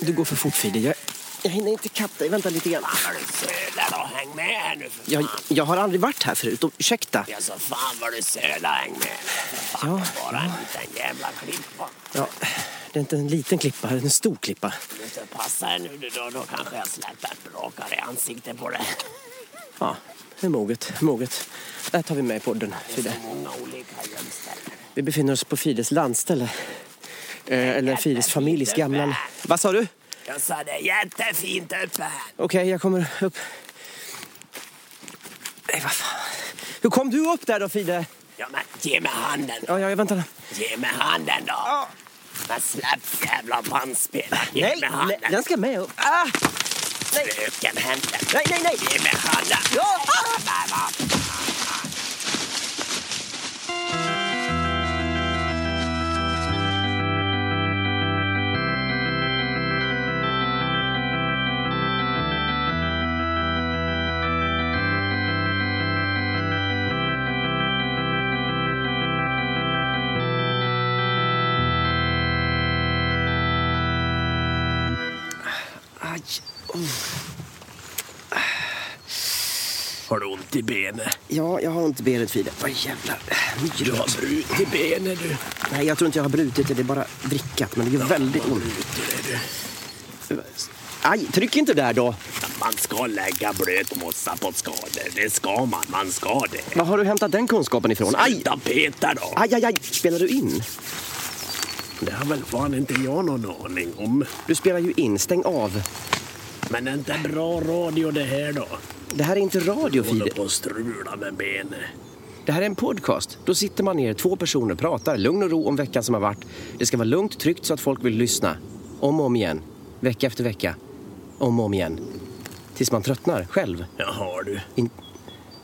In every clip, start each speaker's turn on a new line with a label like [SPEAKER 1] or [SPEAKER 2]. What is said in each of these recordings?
[SPEAKER 1] Du går för fort, Fide. Jag, jag hinner inte ikapp dig. Vänta lite grann.
[SPEAKER 2] Är du söla då? Häng med här nu för
[SPEAKER 1] Jag,
[SPEAKER 2] fan.
[SPEAKER 1] jag har aldrig varit här förut. Och, ursäkta.
[SPEAKER 2] Ja, så fan vad du söla, häng med. Fan,
[SPEAKER 1] Ja,
[SPEAKER 2] bara en liten jävla klippa.
[SPEAKER 1] Ja, det är inte en liten klippa, det är en stor klippa.
[SPEAKER 2] Om du inte passar dig nu då, då kanske jag släpper en brakare i ansiktet på dig.
[SPEAKER 1] Ja, det är moget. moget. Det här tar vi med i podden,
[SPEAKER 2] Det är
[SPEAKER 1] Fide.
[SPEAKER 2] så många olika gömställen.
[SPEAKER 1] Vi befinner oss på Fides landställe. Eh, eller Fides familjs gamla... Vad sa du? Okej,
[SPEAKER 2] Jag sa det är jättefint uppe här.
[SPEAKER 1] jag kommer upp. Nej, vad fan. Hur kom du upp där då, Fide?
[SPEAKER 2] Ja, men ge mig handen.
[SPEAKER 1] Ja, ja, jag väntar.
[SPEAKER 2] Ge mig handen då. Men släpp jävla bandspelet. Ge
[SPEAKER 1] Nej,
[SPEAKER 2] mig
[SPEAKER 1] nej,
[SPEAKER 2] handen.
[SPEAKER 1] den ska med upp. Ah! Nej,
[SPEAKER 2] Öken händer.
[SPEAKER 1] nej, nej! nej.
[SPEAKER 2] Ge mig handen.
[SPEAKER 1] Ja!
[SPEAKER 2] Nej, vad
[SPEAKER 1] Aj.
[SPEAKER 2] Har du ont i benet?
[SPEAKER 1] Ja, jag har ont i benet, Fide. Oj, jävlar.
[SPEAKER 2] Du har brutit benet du.
[SPEAKER 1] Nej, jag tror inte jag har brutit det. Det är bara vrickat. Men det gör väldigt ont. Aj, tryck inte där då.
[SPEAKER 2] Man ska lägga blötmossa på skador. Det ska man. Man ska det.
[SPEAKER 1] Var har du hämtat den kunskapen ifrån? Aj!
[SPEAKER 2] Sluta peta då.
[SPEAKER 1] Aj, aj, aj. Spelar du in?
[SPEAKER 2] Det har väl fan inte jag någon aning om.
[SPEAKER 1] Du spelar ju in. Stäng av.
[SPEAKER 2] Men det är inte bra radio det här då.
[SPEAKER 1] Det här är inte radio,
[SPEAKER 2] Jag håller
[SPEAKER 1] Fide.
[SPEAKER 2] på att strula med benet.
[SPEAKER 1] Det här är en podcast. Då sitter man ner, två personer, pratar, lugn och ro om veckan som har varit. Det ska vara lugnt, tryggt så att folk vill lyssna. Om och om igen. Vecka efter vecka. Om och om igen. Tills man tröttnar, själv.
[SPEAKER 2] Jaha du.
[SPEAKER 1] In-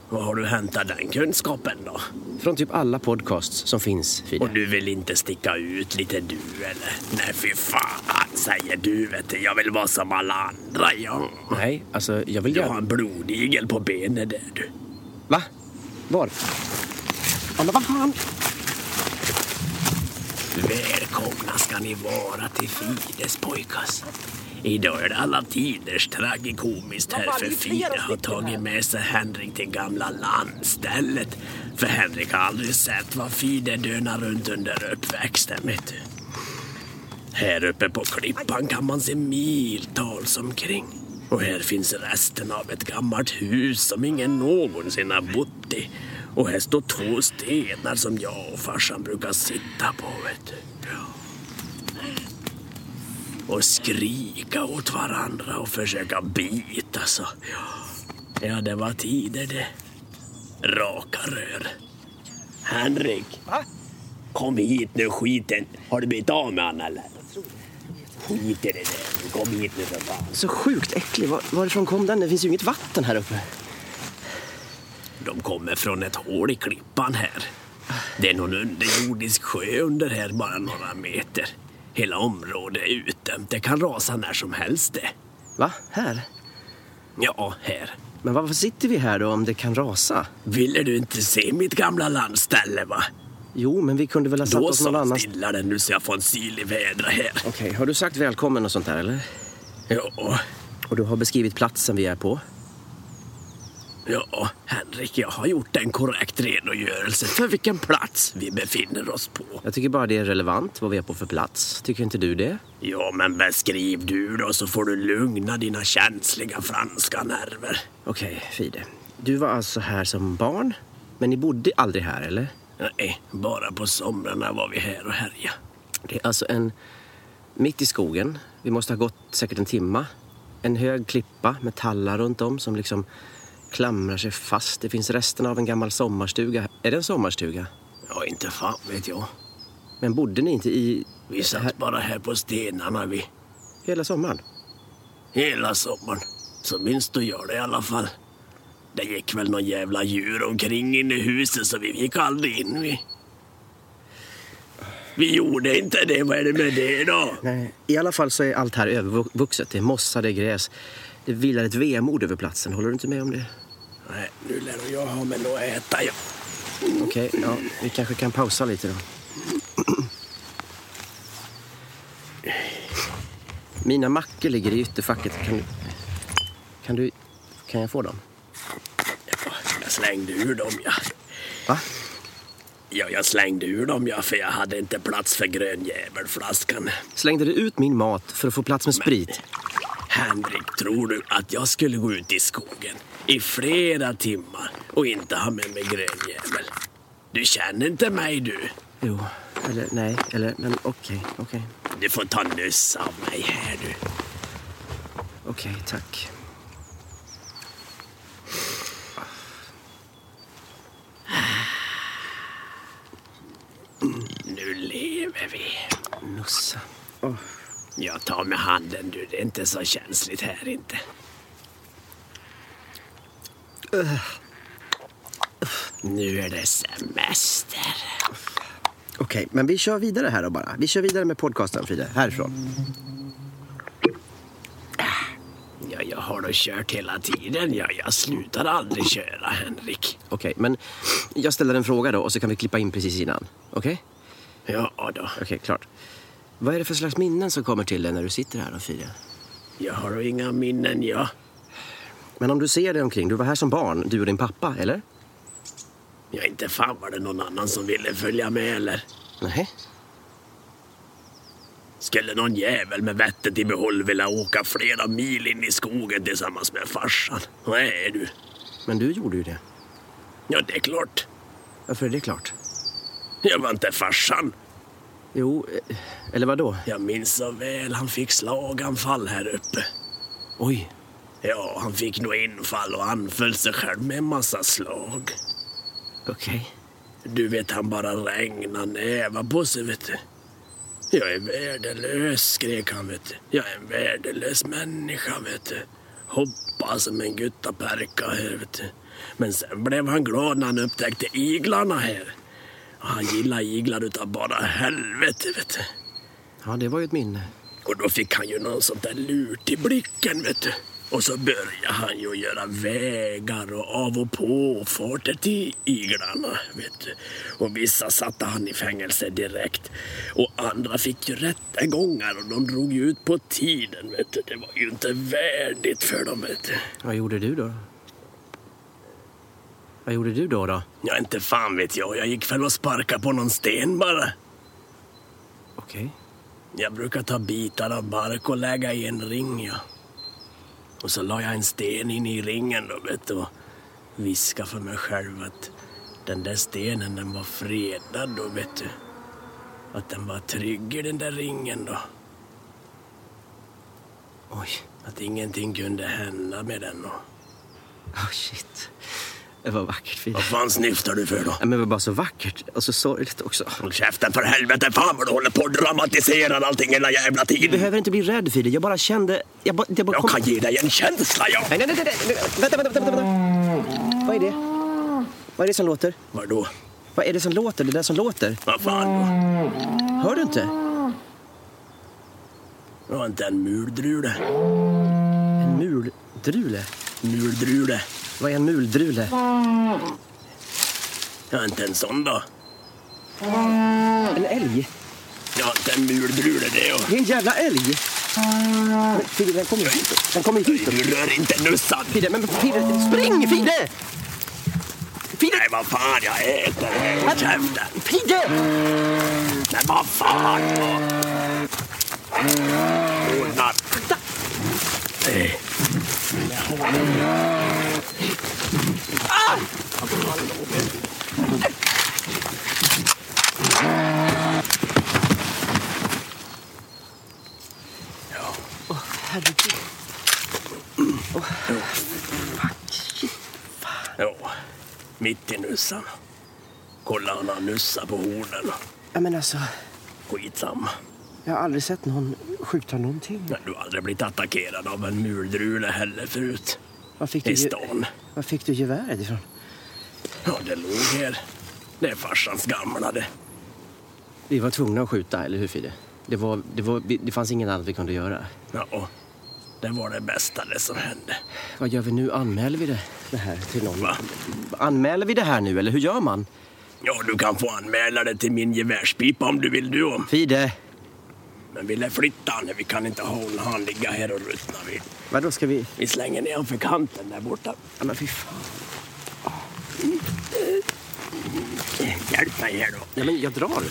[SPEAKER 2] Var har du hämtat den kunskapen då?
[SPEAKER 1] Från typ alla podcasts som finns, Fide.
[SPEAKER 2] Och du vill inte sticka ut lite du eller? Nej fy fan säger du vet du. Jag vill vara som alla andra jag.
[SPEAKER 1] Nej, alltså jag vill
[SPEAKER 2] Jag har
[SPEAKER 1] göra...
[SPEAKER 2] en blodigel på benet där du.
[SPEAKER 1] Va? Var? Ja, men vad fan?
[SPEAKER 2] Välkomna ska ni vara till Fides pojkas. Idag är det alla tiders tragikomiskt här för Fide har tagit med sig Henrik till gamla landstället. För Henrik har aldrig sett vad Fide dönar runt under uppväxten vet du. Här uppe på klippan kan man se miltals omkring. Och här finns resten av ett gammalt hus som ingen någonsin har bott i. Och här står två stenar som jag och farsan brukar sitta på, vet du. Ja. Och skrika åt varandra och försöka bita så. Ja, ja det var tider det. Raka rör. Henrik. Kom hit nu skiten. Har du blivit av med han eller? Skit i det där. Kom hit nu för fan.
[SPEAKER 1] Så sjukt äcklig. Var, varifrån kom den? Det finns ju inget vatten här uppe.
[SPEAKER 2] De kommer från ett hål i klippan här. Det är någon underjordisk sjö under här bara några meter. Hela området är utdömt. Det kan rasa när som helst det.
[SPEAKER 1] Va? Här?
[SPEAKER 2] Ja, här.
[SPEAKER 1] Men varför sitter vi här då om det kan rasa?
[SPEAKER 2] Ville du inte se mitt gamla landställe va?
[SPEAKER 1] Jo, men vi kunde väl ha satt
[SPEAKER 2] Då
[SPEAKER 1] oss någon
[SPEAKER 2] så
[SPEAKER 1] annanstans.
[SPEAKER 2] stilla den nu så jag får en syl i vädra här.
[SPEAKER 1] Okej, har du sagt välkommen och sånt där eller?
[SPEAKER 2] Ja,
[SPEAKER 1] Och du har beskrivit platsen vi är på?
[SPEAKER 2] Ja, Henrik, jag har gjort en korrekt redogörelse för vilken plats vi befinner oss på.
[SPEAKER 1] Jag tycker bara det är relevant vad vi är på för plats. Tycker inte du det?
[SPEAKER 2] Ja, men beskriv du då så får du lugna dina känsliga franska nerver.
[SPEAKER 1] Okej, Fide. Du var alltså här som barn, men ni bodde aldrig här, eller?
[SPEAKER 2] Nej, bara på somrarna var vi här och härja.
[SPEAKER 1] Det är alltså en... Mitt i skogen. Vi måste ha gått säkert en timma. En hög klippa med tallar runt om som liksom klamrar sig fast. Det finns resterna av en gammal sommarstuga. Är det en sommarstuga?
[SPEAKER 2] Ja, inte fan vet jag.
[SPEAKER 1] Men bodde ni inte i...
[SPEAKER 2] Vi
[SPEAKER 1] här
[SPEAKER 2] satt bara här på stenarna vi.
[SPEAKER 1] hela sommaren?
[SPEAKER 2] Hela sommaren. Så minns du jag det i alla fall. Det gick väl någon jävla djur omkring inne i huset så vi gick aldrig in vi. Vi gjorde inte det, vad är det med det då?
[SPEAKER 1] Nej. I alla fall så är allt här övervuxet. Det är mossa, det är gräs. Det vilar ett vemod över platsen. Håller du inte med om det?
[SPEAKER 2] Nej, nu lär nog jag ha mig något att äta ja.
[SPEAKER 1] Okej, ja, vi kanske kan pausa lite då. Mina mackor ligger i ytterfacket. Kan du... Kan du... Kan jag få dem?
[SPEAKER 2] Ja, Jag slängde ur dem ja.
[SPEAKER 1] Va?
[SPEAKER 2] Ja, jag slängde ur dem ja, för jag hade inte plats för grönjävelflaskan.
[SPEAKER 1] Slängde du ut min mat för att få plats med sprit?
[SPEAKER 2] Henrik, tror du att jag skulle gå ut i skogen i flera timmar och inte ha med mig grönjävel? Du känner inte mig du.
[SPEAKER 1] Jo. Eller nej, eller men okej, okej.
[SPEAKER 2] Du får ta nyss av mig här du.
[SPEAKER 1] Okej, tack.
[SPEAKER 2] Nu lever vi.
[SPEAKER 1] Nussa.
[SPEAKER 2] Jag tar med handen du, det är inte så känsligt här inte. Nu är det semester.
[SPEAKER 1] Okej, men vi kör vidare här då bara. Vi kör vidare med podcasten, Fride. Härifrån.
[SPEAKER 2] Ja, jag har då kört hela tiden. Ja, jag slutar aldrig köra, Henrik.
[SPEAKER 1] Okej, men jag ställer en fråga då och så kan vi klippa in precis innan. Okej?
[SPEAKER 2] Ja då.
[SPEAKER 1] Okej, klart. Vad är det för slags minnen som kommer till dig när du sitter här och firar?
[SPEAKER 2] Jag har då inga minnen, jag.
[SPEAKER 1] Men om du ser dig omkring, du var här som barn, du och din pappa, eller?
[SPEAKER 2] Ja, inte fan var det någon annan som ville följa med eller?
[SPEAKER 1] Nej.
[SPEAKER 2] Skulle någon jävel med vettet i behåll vilja åka flera mil in i skogen tillsammans med farsan? Nej du.
[SPEAKER 1] Men du gjorde ju det.
[SPEAKER 2] Ja, det är klart.
[SPEAKER 1] Varför är det klart?
[SPEAKER 2] Jag var inte farsan.
[SPEAKER 1] Jo, eh, eller vad då?
[SPEAKER 2] Jag minns så väl han fick slaganfall här uppe.
[SPEAKER 1] Oj.
[SPEAKER 2] Ja, han fick nog infall och anföll sig själv med en massa slag.
[SPEAKER 1] Okej.
[SPEAKER 2] Du vet, han bara regnar nävar på sig, vet du. Jag är värdelös, skrek han, vet du. Jag är en värdelös människa, vet du. Hoppa som en guttaperka här, vet du. Men sen blev han glad när han upptäckte iglarna här. Han gillar iglar utav bara helvete, vet du.
[SPEAKER 1] Ja, det var ju ett minne.
[SPEAKER 2] Och då fick han ju någon sånt där lurt i blicken, vet du. Och så började han ju göra vägar och av och påfarter till iglarna, vet du. Och vissa satte han i fängelse direkt. Och andra fick ju rättegångar och de drog ju ut på tiden, vet du. Det var ju inte värdigt för dem, vet du.
[SPEAKER 1] Vad gjorde du då? Vad gjorde du då? då?
[SPEAKER 2] Ja, inte fan vet jag. Jag gick väl och sparkade på någon sten bara.
[SPEAKER 1] Okej.
[SPEAKER 2] Jag brukar ta bitar av bark och lägga i en ring, ja. Och så la jag en sten in i ringen då, vet du, och viska för mig själv att den där stenen, den var fredad då, vet du. Att den var trygg i den där ringen då.
[SPEAKER 1] Oj.
[SPEAKER 2] Att ingenting kunde hända med den då.
[SPEAKER 1] Oh, shit. Det var vackert, Frida.
[SPEAKER 2] Vad fan snyftar du för då?
[SPEAKER 1] Ja, men det var bara så vackert och så sorgligt också.
[SPEAKER 2] Håll käften för helvete! Fan vad du håller på och dramatiserar allting hela jävla
[SPEAKER 1] Du
[SPEAKER 2] tiden!
[SPEAKER 1] behöver inte bli rädd, Frida. Jag bara kände... Jag bara... Jag bara
[SPEAKER 2] Jag kan ge dig en känsla, ja!
[SPEAKER 1] Nej, nej, nej, nej, nej. Vänta, vänta, vänta, vänta. Vad är det? Vad är det som låter?
[SPEAKER 2] Vadå?
[SPEAKER 1] Vad är det som låter? Det där som låter?
[SPEAKER 2] Vad fan då?
[SPEAKER 1] Hör du inte?
[SPEAKER 2] Det var inte en muldrule.
[SPEAKER 1] En muldrule?
[SPEAKER 2] Muldrule.
[SPEAKER 1] Vad är en muldrule?
[SPEAKER 2] Ja, inte en sån då.
[SPEAKER 1] En älg?
[SPEAKER 2] Ja, inte en muldrule det. Och...
[SPEAKER 1] Det är en jävla älg! Men Fide, den kommer ju hit. Den kommer ju hit.
[SPEAKER 2] Du rör inte nussan!
[SPEAKER 1] Fide, men Fide, spring Fide! Fide!
[SPEAKER 2] Nej, vad fan, jag äter! Håll käften!
[SPEAKER 1] Fide!
[SPEAKER 2] Men vad fan! Ordnar. Eh.
[SPEAKER 1] Herregud.
[SPEAKER 2] Ja, mitt i nussan. Kolla han har nussa på hornen.
[SPEAKER 1] Ja, men alltså,
[SPEAKER 2] Skitsamma.
[SPEAKER 1] jag har aldrig sett någon skjuta någonting.
[SPEAKER 2] Men du har aldrig blivit attackerad av en muldrule heller förut.
[SPEAKER 1] Var fick du,
[SPEAKER 2] I
[SPEAKER 1] ge-
[SPEAKER 2] stan.
[SPEAKER 1] var fick du geväret ifrån?
[SPEAKER 2] Ja, det låg här. Det är farsans gamla det.
[SPEAKER 1] Vi var tvungna att skjuta, eller hur Fide? Det, var, det, var, vi- det fanns inget annat vi kunde göra.
[SPEAKER 2] Ja, det var det bästa det som hände.
[SPEAKER 1] Vad gör vi nu? Anmäler vi det, det här till någon?
[SPEAKER 2] Va?
[SPEAKER 1] Anmäler vi det här nu, eller hur gör man?
[SPEAKER 2] Ja, du kan få anmäla det till min gevärspipa om du vill du om.
[SPEAKER 1] Fide!
[SPEAKER 2] Men vi lär flytta han. Vi kan inte hålla han ligga här och ruttna. Vi,
[SPEAKER 1] Vadå, ska vi...
[SPEAKER 2] vi slänger ner han för kanten där borta.
[SPEAKER 1] Ja, men fy fan.
[SPEAKER 2] Hjälp mig här då.
[SPEAKER 1] Ja, men jag drar.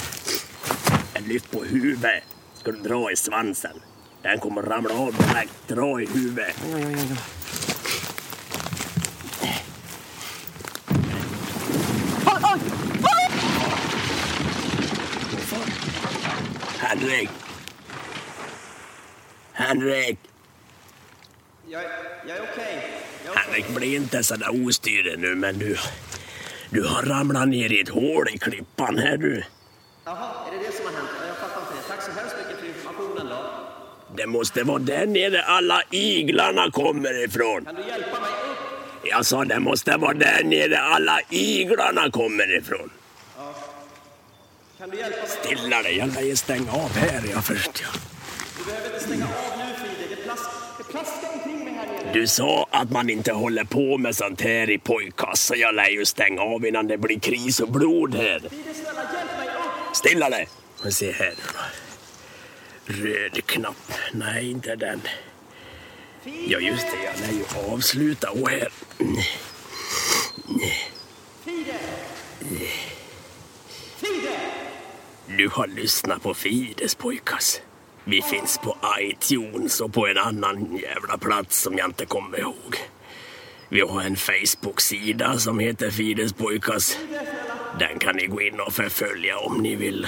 [SPEAKER 2] En lyft på huvudet. Ska du dra i svansen? Den kommer ramla av direkt. Dra i huvudet.
[SPEAKER 1] Ja, ja, ja, ja.
[SPEAKER 2] Henrik! Henrik!
[SPEAKER 3] Jag, jag är okej.
[SPEAKER 2] Henrik, bli inte så där ostyrig nu, men du... Du har ramlat ner i ett hål i klippan här du.
[SPEAKER 3] Jaha, är det det som har hänt? Ja, Jag fattar inte det. Tack så hemskt mycket för informationen då.
[SPEAKER 2] Det måste vara där nere alla iglarna kommer ifrån.
[SPEAKER 3] Kan du hjälpa mig upp?
[SPEAKER 2] Jag sa det måste vara där nere alla iglarna kommer ifrån.
[SPEAKER 3] Kan du hjälpa mig?
[SPEAKER 2] Stilla dig, jag lär ju stänga av här. Jag först, ja.
[SPEAKER 3] Du behöver inte stänga av nu Fride. Det, plask, det plaskar omkring mig här nere.
[SPEAKER 2] Du sa att man inte håller på med sånt här i pojkkast, så jag lär ju stänga av innan det blir kris och blod här.
[SPEAKER 3] Fride, snälla hjälp mig upp!
[SPEAKER 2] Stilla dig! Vi se här. Röd knapp. Nej, inte den.
[SPEAKER 3] Fride!
[SPEAKER 2] Ja, just det. Jag lär ju avsluta. Och här.
[SPEAKER 3] Fride! Fride!
[SPEAKER 2] Du har lyssnat på Fides pojkas. Vi finns på iTunes och på en annan jävla plats som jag inte kommer ihåg. Vi har en Facebook-sida som heter Fides pojkas. Den kan ni gå in och förfölja om ni vill.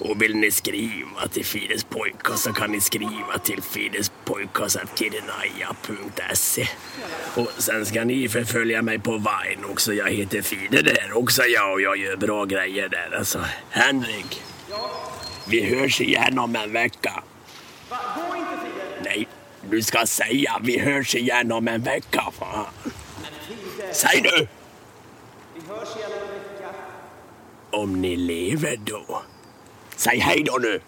[SPEAKER 2] Och vill ni skriva till Fides pojkas så kan ni skriva till fidespojkas.kidenaja.se. Och sen ska ni förfölja mig på Vine också. Jag heter Fide där också jag och jag gör bra grejer där alltså. Henrik. Vi hörs igen om en vecka.
[SPEAKER 3] Va, gå inte Fride!
[SPEAKER 2] Nej, du ska säga vi hörs igen om en vecka. Fan. Säg nu!
[SPEAKER 3] Vi hörs igen om en vecka.
[SPEAKER 2] Om ni lever då. Säg hej då nu.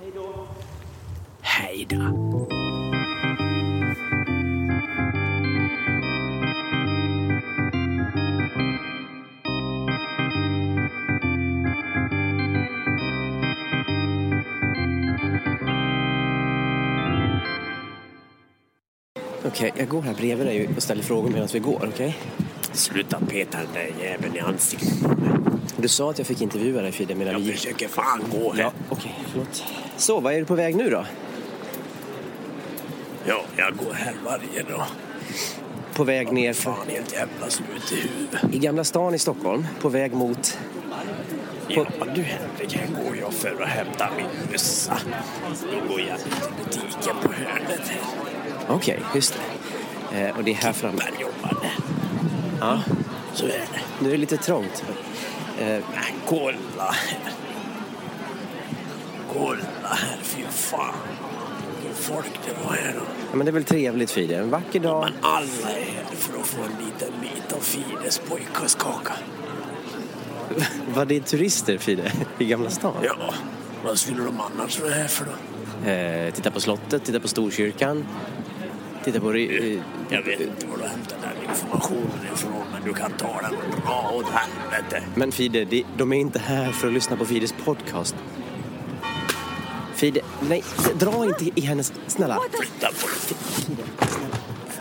[SPEAKER 3] Hej då.
[SPEAKER 2] Hej då.
[SPEAKER 1] Okej, jag går här bredvid dig och ställer frågor medan vi går, okej?
[SPEAKER 2] Sluta peta den där jäveln i ansiktet.
[SPEAKER 1] Du sa att jag fick intervjua dig Fide medan
[SPEAKER 2] Jag
[SPEAKER 1] vi gick.
[SPEAKER 2] försöker fan gå här.
[SPEAKER 1] Ja, okej, förlåt. Så, vad är du på väg nu då?
[SPEAKER 2] Ja, jag går här varje dag.
[SPEAKER 1] På väg ner för...
[SPEAKER 2] Fan, helt jävla slut i huvudet.
[SPEAKER 1] I Gamla stan i Stockholm, på väg mot...
[SPEAKER 2] Ja, du Henrik, här går jag för att hämta min mössa. Då går jag till butiken på hörnet här.
[SPEAKER 1] Okej, just det. Eh, och det är här framme.
[SPEAKER 2] Där jobbar det.
[SPEAKER 1] Ja,
[SPEAKER 2] Så är det.
[SPEAKER 1] nu är det lite trångt. Eh,
[SPEAKER 2] Men kolla här. Kolla här, fy fan. Vilken folk det var här. då.
[SPEAKER 1] ja, men det är väl trevligt Fide, en vacker dag.
[SPEAKER 2] Men alla är här för att få en liten bit av Fides pojkars kaka.
[SPEAKER 1] Var det turister Fide, i Gamla stan?
[SPEAKER 2] Ja, vad skulle de annars vara här för då?
[SPEAKER 1] Eh, titta på slottet, titta på Storkyrkan. Titta på... ry- eh,
[SPEAKER 2] Jag vet inte var du hämtar den informationen ifrån, men du kan ta den bra åt helvete.
[SPEAKER 1] Men Fide, de, de är inte här för att lyssna på Fides podcast. Fide, nej, dra inte i hennes... Snälla.
[SPEAKER 2] Flytta på dig.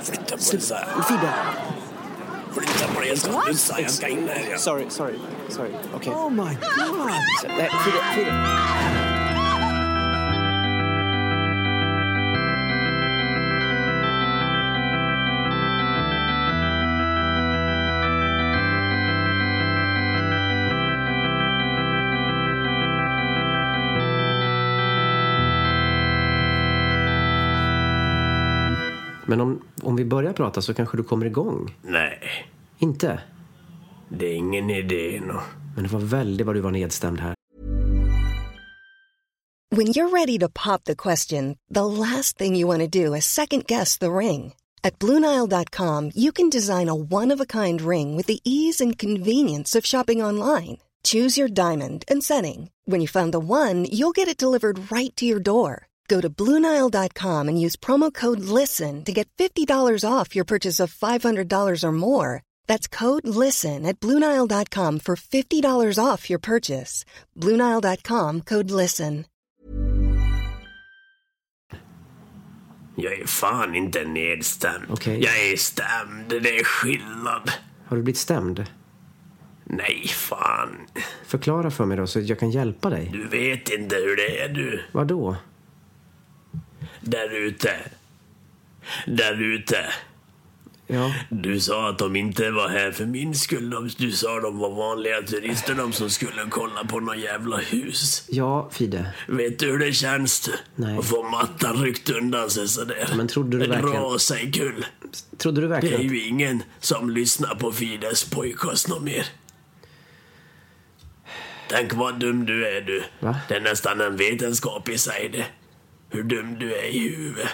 [SPEAKER 2] Flytta på dig, sa jag.
[SPEAKER 1] Fide,
[SPEAKER 2] Flytta på dig, jag ska du sa jag ska in här. Jag.
[SPEAKER 1] sorry, sorry, sorry. Okej.
[SPEAKER 4] Oh my god!
[SPEAKER 1] Nej, Fide, Fide. Men om, om vi börjar prata så kanske du kommer igång.
[SPEAKER 2] Nej,
[SPEAKER 1] Inte?
[SPEAKER 2] det är ingen idé nå.
[SPEAKER 1] Men det var väldigt vad du var nedstämd här.
[SPEAKER 5] When you're ready to pop the question, the last thing you want to do is second guess the ring. At Bluenile.com, you can design a one of a kind ring with the ease and convenience of shopping online. Choose your diamond and setting. When you find the one, you'll get it delivered right to your door. Go to Bluenile.com and use promo code LISTEN to get $50 off your purchase of $500 or more. That's code LISTEN at Bluenile.com for $50 off your purchase. Bluenile.com code LISTEN.
[SPEAKER 2] Jag är fan inte nedstämd.
[SPEAKER 1] Okej.
[SPEAKER 2] Jag är stämd, det är skillnad.
[SPEAKER 1] Har du blivit stämd?
[SPEAKER 2] Nej, fan.
[SPEAKER 1] Förklara för mig då så att jag kan hjälpa dig.
[SPEAKER 2] Du vet inte hur det är du.
[SPEAKER 1] Vadå?
[SPEAKER 2] Där ute. Där ute.
[SPEAKER 1] Ja,
[SPEAKER 2] Du sa att de inte var här för min skull. De- Du sa de var vanliga turister de som skulle kolla på något jävla hus.
[SPEAKER 1] ja Fide.
[SPEAKER 2] Vet du hur det känns du?
[SPEAKER 1] Nej.
[SPEAKER 2] Att få mattan ryckt undan sig sådär.
[SPEAKER 1] Men trodde du verkligen-
[SPEAKER 2] Rasa i kull.
[SPEAKER 1] Trodde du
[SPEAKER 2] Det är
[SPEAKER 1] verkligen...
[SPEAKER 2] ju ingen som lyssnar på Fides pojkast något mer. Tänk vad dum du är du.
[SPEAKER 1] Va?
[SPEAKER 2] Det är nästan en vetenskap i sig det. Hur dum du är i huvudet.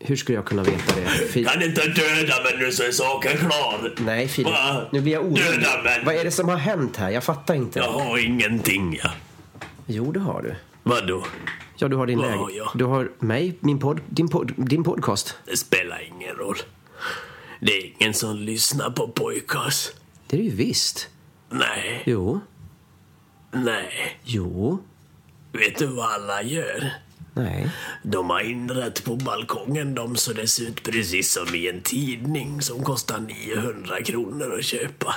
[SPEAKER 1] Hur skulle jag kunna veta det? Fide.
[SPEAKER 2] Kan inte döda mig nu så är saken klar.
[SPEAKER 1] Nej Fide,
[SPEAKER 2] Va?
[SPEAKER 1] nu blir jag orolig.
[SPEAKER 2] Döda mig.
[SPEAKER 1] Vad är det som har hänt här? Jag fattar inte.
[SPEAKER 2] Jag har ingenting ja.
[SPEAKER 1] Jo, det har du.
[SPEAKER 2] Vadå?
[SPEAKER 1] Ja, du har din
[SPEAKER 2] Vad
[SPEAKER 1] läge.
[SPEAKER 2] har jag?
[SPEAKER 1] Du har mig, min podd, din, podd, din podcast.
[SPEAKER 2] Det spelar ingen roll. Det är ingen som lyssnar på pojkas.
[SPEAKER 1] Det är det ju visst.
[SPEAKER 2] Nej,
[SPEAKER 1] Jo.
[SPEAKER 2] nej.
[SPEAKER 1] Jo.
[SPEAKER 2] Vet du vad alla gör?
[SPEAKER 1] Nej.
[SPEAKER 2] De har inrett på balkongen de så det ser ut precis som i en tidning som kostar 900 kronor att köpa.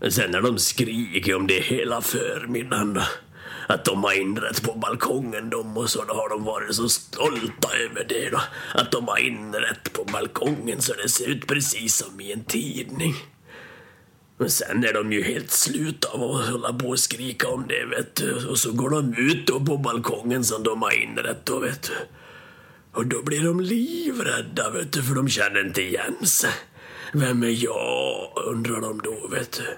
[SPEAKER 2] Men Sen när de skriker om det hela förmiddagen då, att de har inrett på balkongen de och så då har de varit så stolta över det då. Att de har inrett på balkongen så det ser ut precis som i en tidning. Men sen är de ju helt slut av att hålla på och skrika om det, vet du. Och så går de ut då på balkongen som de har inrett då, vet du. Och då blir de livrädda, vet du, för de känner inte igen sig. Vem är jag, undrar de då, vet du.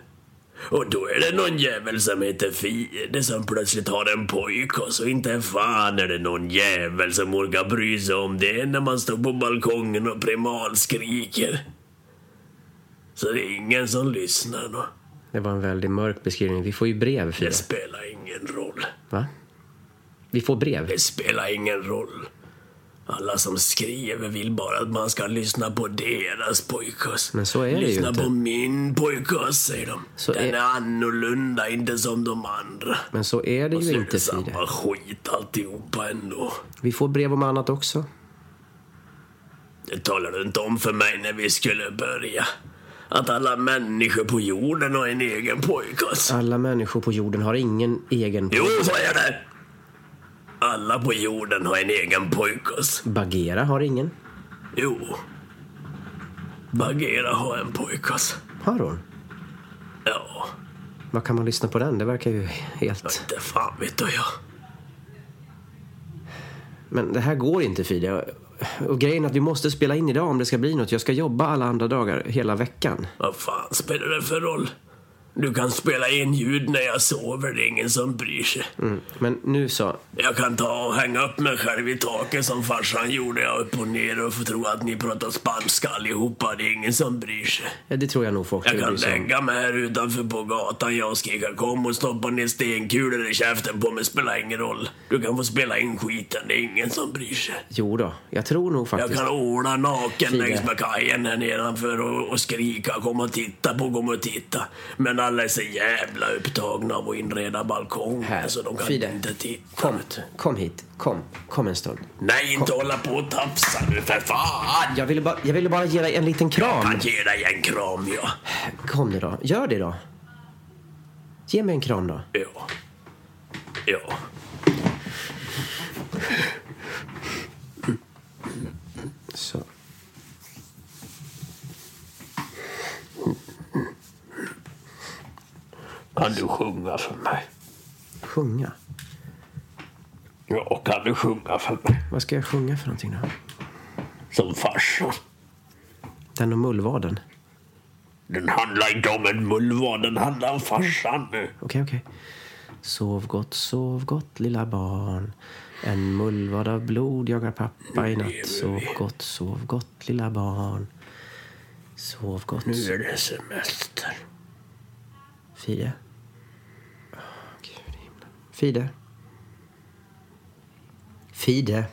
[SPEAKER 2] Och då är det någon jävel som heter Fide som plötsligt har en pojk och så inte fan är det någon jävel som orkar bry sig om det när man står på balkongen och primalskriker. Så det är ingen som lyssnar då.
[SPEAKER 1] Det var en väldigt mörk beskrivning. Vi får ju brev, Fide.
[SPEAKER 2] Det spelar ingen roll.
[SPEAKER 1] Va? Vi får brev.
[SPEAKER 2] Det spelar ingen roll. Alla som skriver vill bara att man ska lyssna på deras pojkas.
[SPEAKER 1] Men så är det ju
[SPEAKER 2] lyssna
[SPEAKER 1] inte.
[SPEAKER 2] på min pojkas, säger de.
[SPEAKER 1] Så
[SPEAKER 2] Den
[SPEAKER 1] är-
[SPEAKER 2] är... annorlunda, inte som de andra.
[SPEAKER 1] Men så är det
[SPEAKER 2] Och
[SPEAKER 1] ju
[SPEAKER 2] så är
[SPEAKER 1] inte,
[SPEAKER 2] det
[SPEAKER 1] Fide.
[SPEAKER 2] samma skit alltihopa ändå.
[SPEAKER 1] Vi får brev om annat också.
[SPEAKER 2] Det talade du inte om för mig när vi skulle börja. Att alla människor på jorden har en egen pojkas.
[SPEAKER 1] Alla människor på jorden har ingen egen
[SPEAKER 2] Jo, så är det! Alla på jorden har en egen pojkas.
[SPEAKER 1] Bagheera har ingen.
[SPEAKER 2] Jo. Bagheera har en pojkas.
[SPEAKER 1] Har hon?
[SPEAKER 2] Ja,
[SPEAKER 1] Vad kan man lyssna på den? Det verkar ju helt...
[SPEAKER 2] inte fan vet du jag.
[SPEAKER 1] Men det här går inte Fide. Och grejen är att vi måste spela in idag om det ska bli något. Jag ska jobba alla andra dagar hela veckan.
[SPEAKER 2] Vad fan spelar det för roll? Du kan spela in ljud när jag sover, det är ingen som bryr sig.
[SPEAKER 1] Mm. Men nu så.
[SPEAKER 2] Jag kan ta och hänga upp mig själv i taket som farsan gjorde. Jag upp och ner och får tro att ni pratar spanska allihopa, det är ingen som bryr sig.
[SPEAKER 1] Ja, det tror jag nog folk
[SPEAKER 2] Jag kan
[SPEAKER 1] bryr sig om.
[SPEAKER 2] lägga mig här utanför på gatan. Jag och skrika kom och stoppa ner stenkulor i käften på mig. Spelar ingen roll. Du kan få spela in skiten. Det är ingen som bryr sig.
[SPEAKER 1] Jo då, jag tror nog
[SPEAKER 2] Jag
[SPEAKER 1] faktiskt.
[SPEAKER 2] kan ordna naken
[SPEAKER 1] Fide.
[SPEAKER 2] längs med kajen här nedanför och, och skrika kom och titta på, kom och titta. Men men alla är så jävla upptagna av att inreda balkongen
[SPEAKER 4] Här,
[SPEAKER 2] så de kan
[SPEAKER 4] Fide.
[SPEAKER 2] inte titta.
[SPEAKER 1] Kom, kom hit. Kom, kom en stund.
[SPEAKER 2] Nej, inte hålla på och tafsa nu för fan!
[SPEAKER 1] Jag ville, bara, jag ville bara ge dig en liten kram.
[SPEAKER 2] Jag ger dig en kram, ja.
[SPEAKER 1] Kom nu då. Gör det då. Ge mig en kram då.
[SPEAKER 2] Ja. Ja.
[SPEAKER 1] Så.
[SPEAKER 2] Kan du sjunga för mig?
[SPEAKER 1] Sjunga.
[SPEAKER 2] Ja, kan du sjunga för mig?
[SPEAKER 1] Vad ska jag sjunga för någonting då?
[SPEAKER 2] Som farsan.
[SPEAKER 1] Den om mullvaden.
[SPEAKER 2] Den handlar inte om en mullvad, den handlar om farsan nu.
[SPEAKER 1] Okej, okej. Sov gott, sov gott lilla barn. En mullvad av blod jagar pappa i natt. Sov gott, sov gott lilla barn. Sov gott.
[SPEAKER 2] Nu är det semester.
[SPEAKER 1] Fide. Åh, Gud i himlen. Fide. Fide.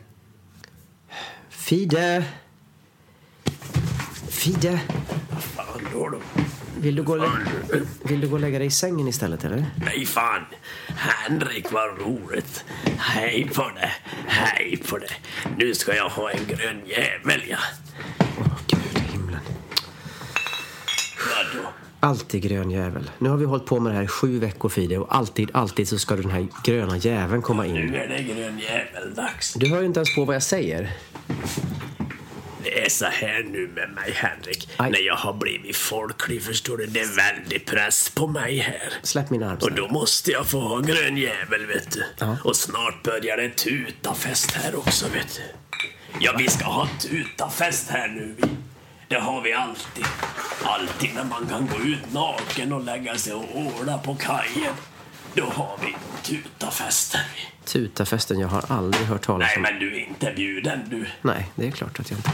[SPEAKER 1] Fide. Fide.
[SPEAKER 2] Fan, då då.
[SPEAKER 1] Vill du, gå och lä- vill du gå och lägga dig i sängen istället eller?
[SPEAKER 2] Nej, fan. Henrik, vad roligt. Hej på det. Hej på det. Nu ska jag ha en grön jävel, ja.
[SPEAKER 1] Åh Gud i himlen.
[SPEAKER 2] Vadå?
[SPEAKER 1] Alltid grön jävel. Nu har vi hållit på med det här i sju veckor Fide och alltid, alltid så ska den här gröna jäveln komma in.
[SPEAKER 2] Nu är det grön jävel-dags.
[SPEAKER 1] Du hör ju inte ens på vad jag säger.
[SPEAKER 2] Det är så här nu med mig, Henrik.
[SPEAKER 1] Aj.
[SPEAKER 2] När jag har blivit folklig, förstår du. Det är väldigt press på mig här.
[SPEAKER 1] Släpp min arm
[SPEAKER 2] Och
[SPEAKER 1] snälla.
[SPEAKER 2] då måste jag få ha en grön jävel, vet du.
[SPEAKER 1] Ja.
[SPEAKER 2] Och snart börjar det tutafest här också, vet du. Ja, vi ska ha tutafest här nu. vi. Det har vi alltid. Alltid när man kan gå ut naken och lägga sig och åla på kajen. Då har vi tutafest här. vi.
[SPEAKER 1] Tutafesten, jag har aldrig hört talas
[SPEAKER 2] Nej,
[SPEAKER 1] om.
[SPEAKER 2] men du är inte bjuden du.
[SPEAKER 1] Nej, det är klart att jag inte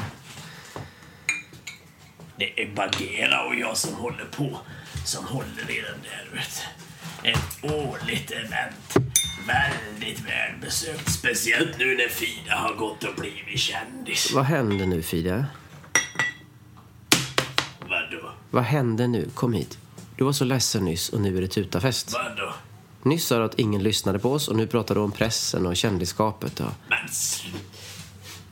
[SPEAKER 2] Det är Bagheera och jag som håller på. Som håller i den där vet du. Ett årligt event. Väldigt välbesökt. Speciellt nu när Fida har gått och blivit kändis.
[SPEAKER 1] Vad händer nu Fide?
[SPEAKER 2] Vadå?
[SPEAKER 1] Vad hände nu? Kom hit. Du var så ledsen nyss och nu är det tutafest.
[SPEAKER 2] Vadå?
[SPEAKER 1] Nyss sa du att ingen lyssnade på oss och nu pratar du om pressen och kändisskapet och...
[SPEAKER 2] Men sl-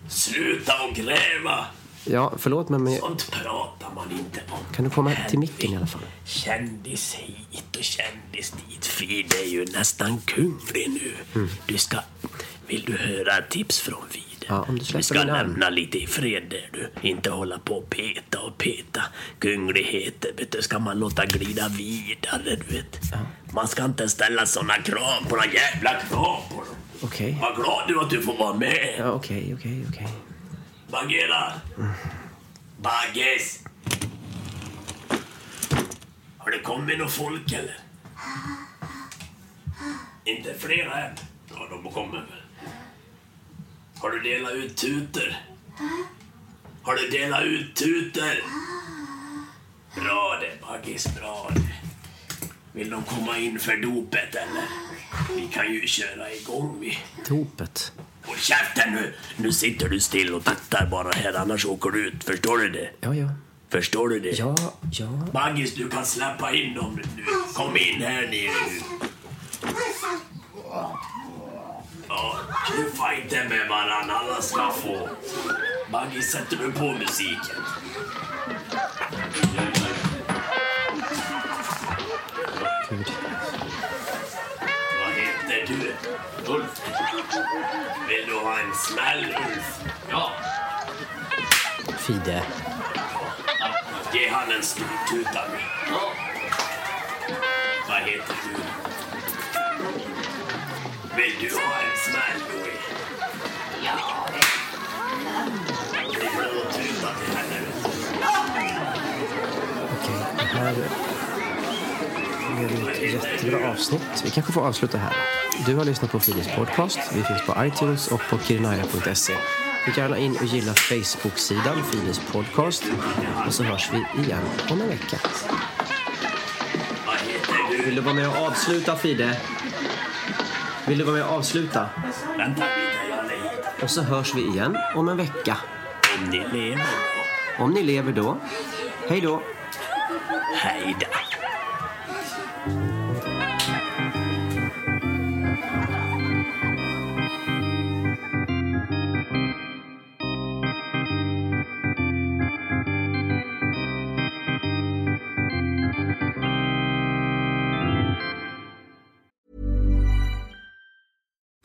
[SPEAKER 2] sluta och gräva!
[SPEAKER 1] Ja, förlåt men... men...
[SPEAKER 2] Sånt pratar man inte om.
[SPEAKER 1] Kan du komma till micken i alla fall?
[SPEAKER 2] Kändis hit och kändis dit. Fide är ju nästan kunglig nu.
[SPEAKER 1] Mm.
[SPEAKER 2] Du ska... Vill du höra ett tips från Fide?
[SPEAKER 1] Ja, om du släpper
[SPEAKER 2] Vi ska
[SPEAKER 1] min arm.
[SPEAKER 2] lämna lite i fred där du. Inte hålla på och peta och peta. Kungligheter, vet du, ska man låta glida vidare, du vet. Man ska inte ställa såna krav på några jävla krav på dem.
[SPEAKER 1] Okej.
[SPEAKER 2] Vad glad du att du får vara med.
[SPEAKER 1] Ja, okej, okej, okej.
[SPEAKER 2] Bagheera! Baggis! Har det kommit något folk eller? Inte flera än? Ja, de kommer väl. Har du delat ut tutor? Har du delat ut tutor? Bra det, Baggis, bra det. Vill de komma in för dopet eller? Vi kan ju köra igång vi.
[SPEAKER 1] Dopet.
[SPEAKER 2] Håll käften nu! Nu sitter du still och tittar bara här, annars åker du ut. Förstår du det?
[SPEAKER 1] Ja, ja.
[SPEAKER 2] Förstår du det?
[SPEAKER 1] Ja, ja.
[SPEAKER 2] Baggis, du kan släppa in dem nu. Kom in här nere nu. Ja, knuffa inte med varandra, alla ska få. Baggis, sätter du på musiken?
[SPEAKER 1] Gud.
[SPEAKER 2] Vad heter du? Ulf. Vill du ha en smäll, Ulf? Ja.
[SPEAKER 1] Fide.
[SPEAKER 2] Ge han en stor tuta nu. Vad heter du? Vill du ha en smäll, Louis? Ja. Det är bra att tuta till henne.
[SPEAKER 1] Okej, här gör vi ett jättebra avsnitt. Vi kanske får avsluta här. Du har lyssnat på Fides podcast. Vi finns på iTunes och på kirinaya.se. Gå gärna in och gilla Facebook-sidan Fides podcast. Och så hörs vi igen om en vecka.
[SPEAKER 2] Vad heter
[SPEAKER 1] Vill
[SPEAKER 2] du?
[SPEAKER 1] du vara med och avsluta, Fide? Vill du vara med och avsluta?
[SPEAKER 2] Vänta lite, jag letar.
[SPEAKER 1] Och så hörs vi igen om en vecka.
[SPEAKER 2] Om ni lever då.
[SPEAKER 1] Om ni lever då. Hej då!
[SPEAKER 2] Hej då.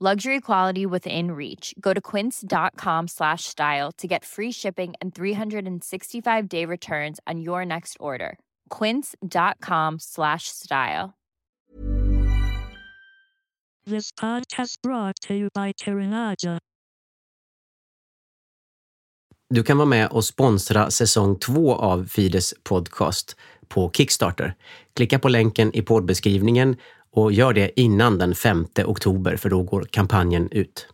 [SPEAKER 6] Luxury quality within reach. Go to quince.com slash style to get free shipping and 365 day returns on your next order. Quince.com slash style.
[SPEAKER 7] This podcast brought to you by Terinaja.
[SPEAKER 1] Du kan vara med och sponsra säsong två av Fides podcast på Kickstarter. Klicka på länken i poddbeskrivningen och gör det innan den 5 oktober för då går kampanjen ut.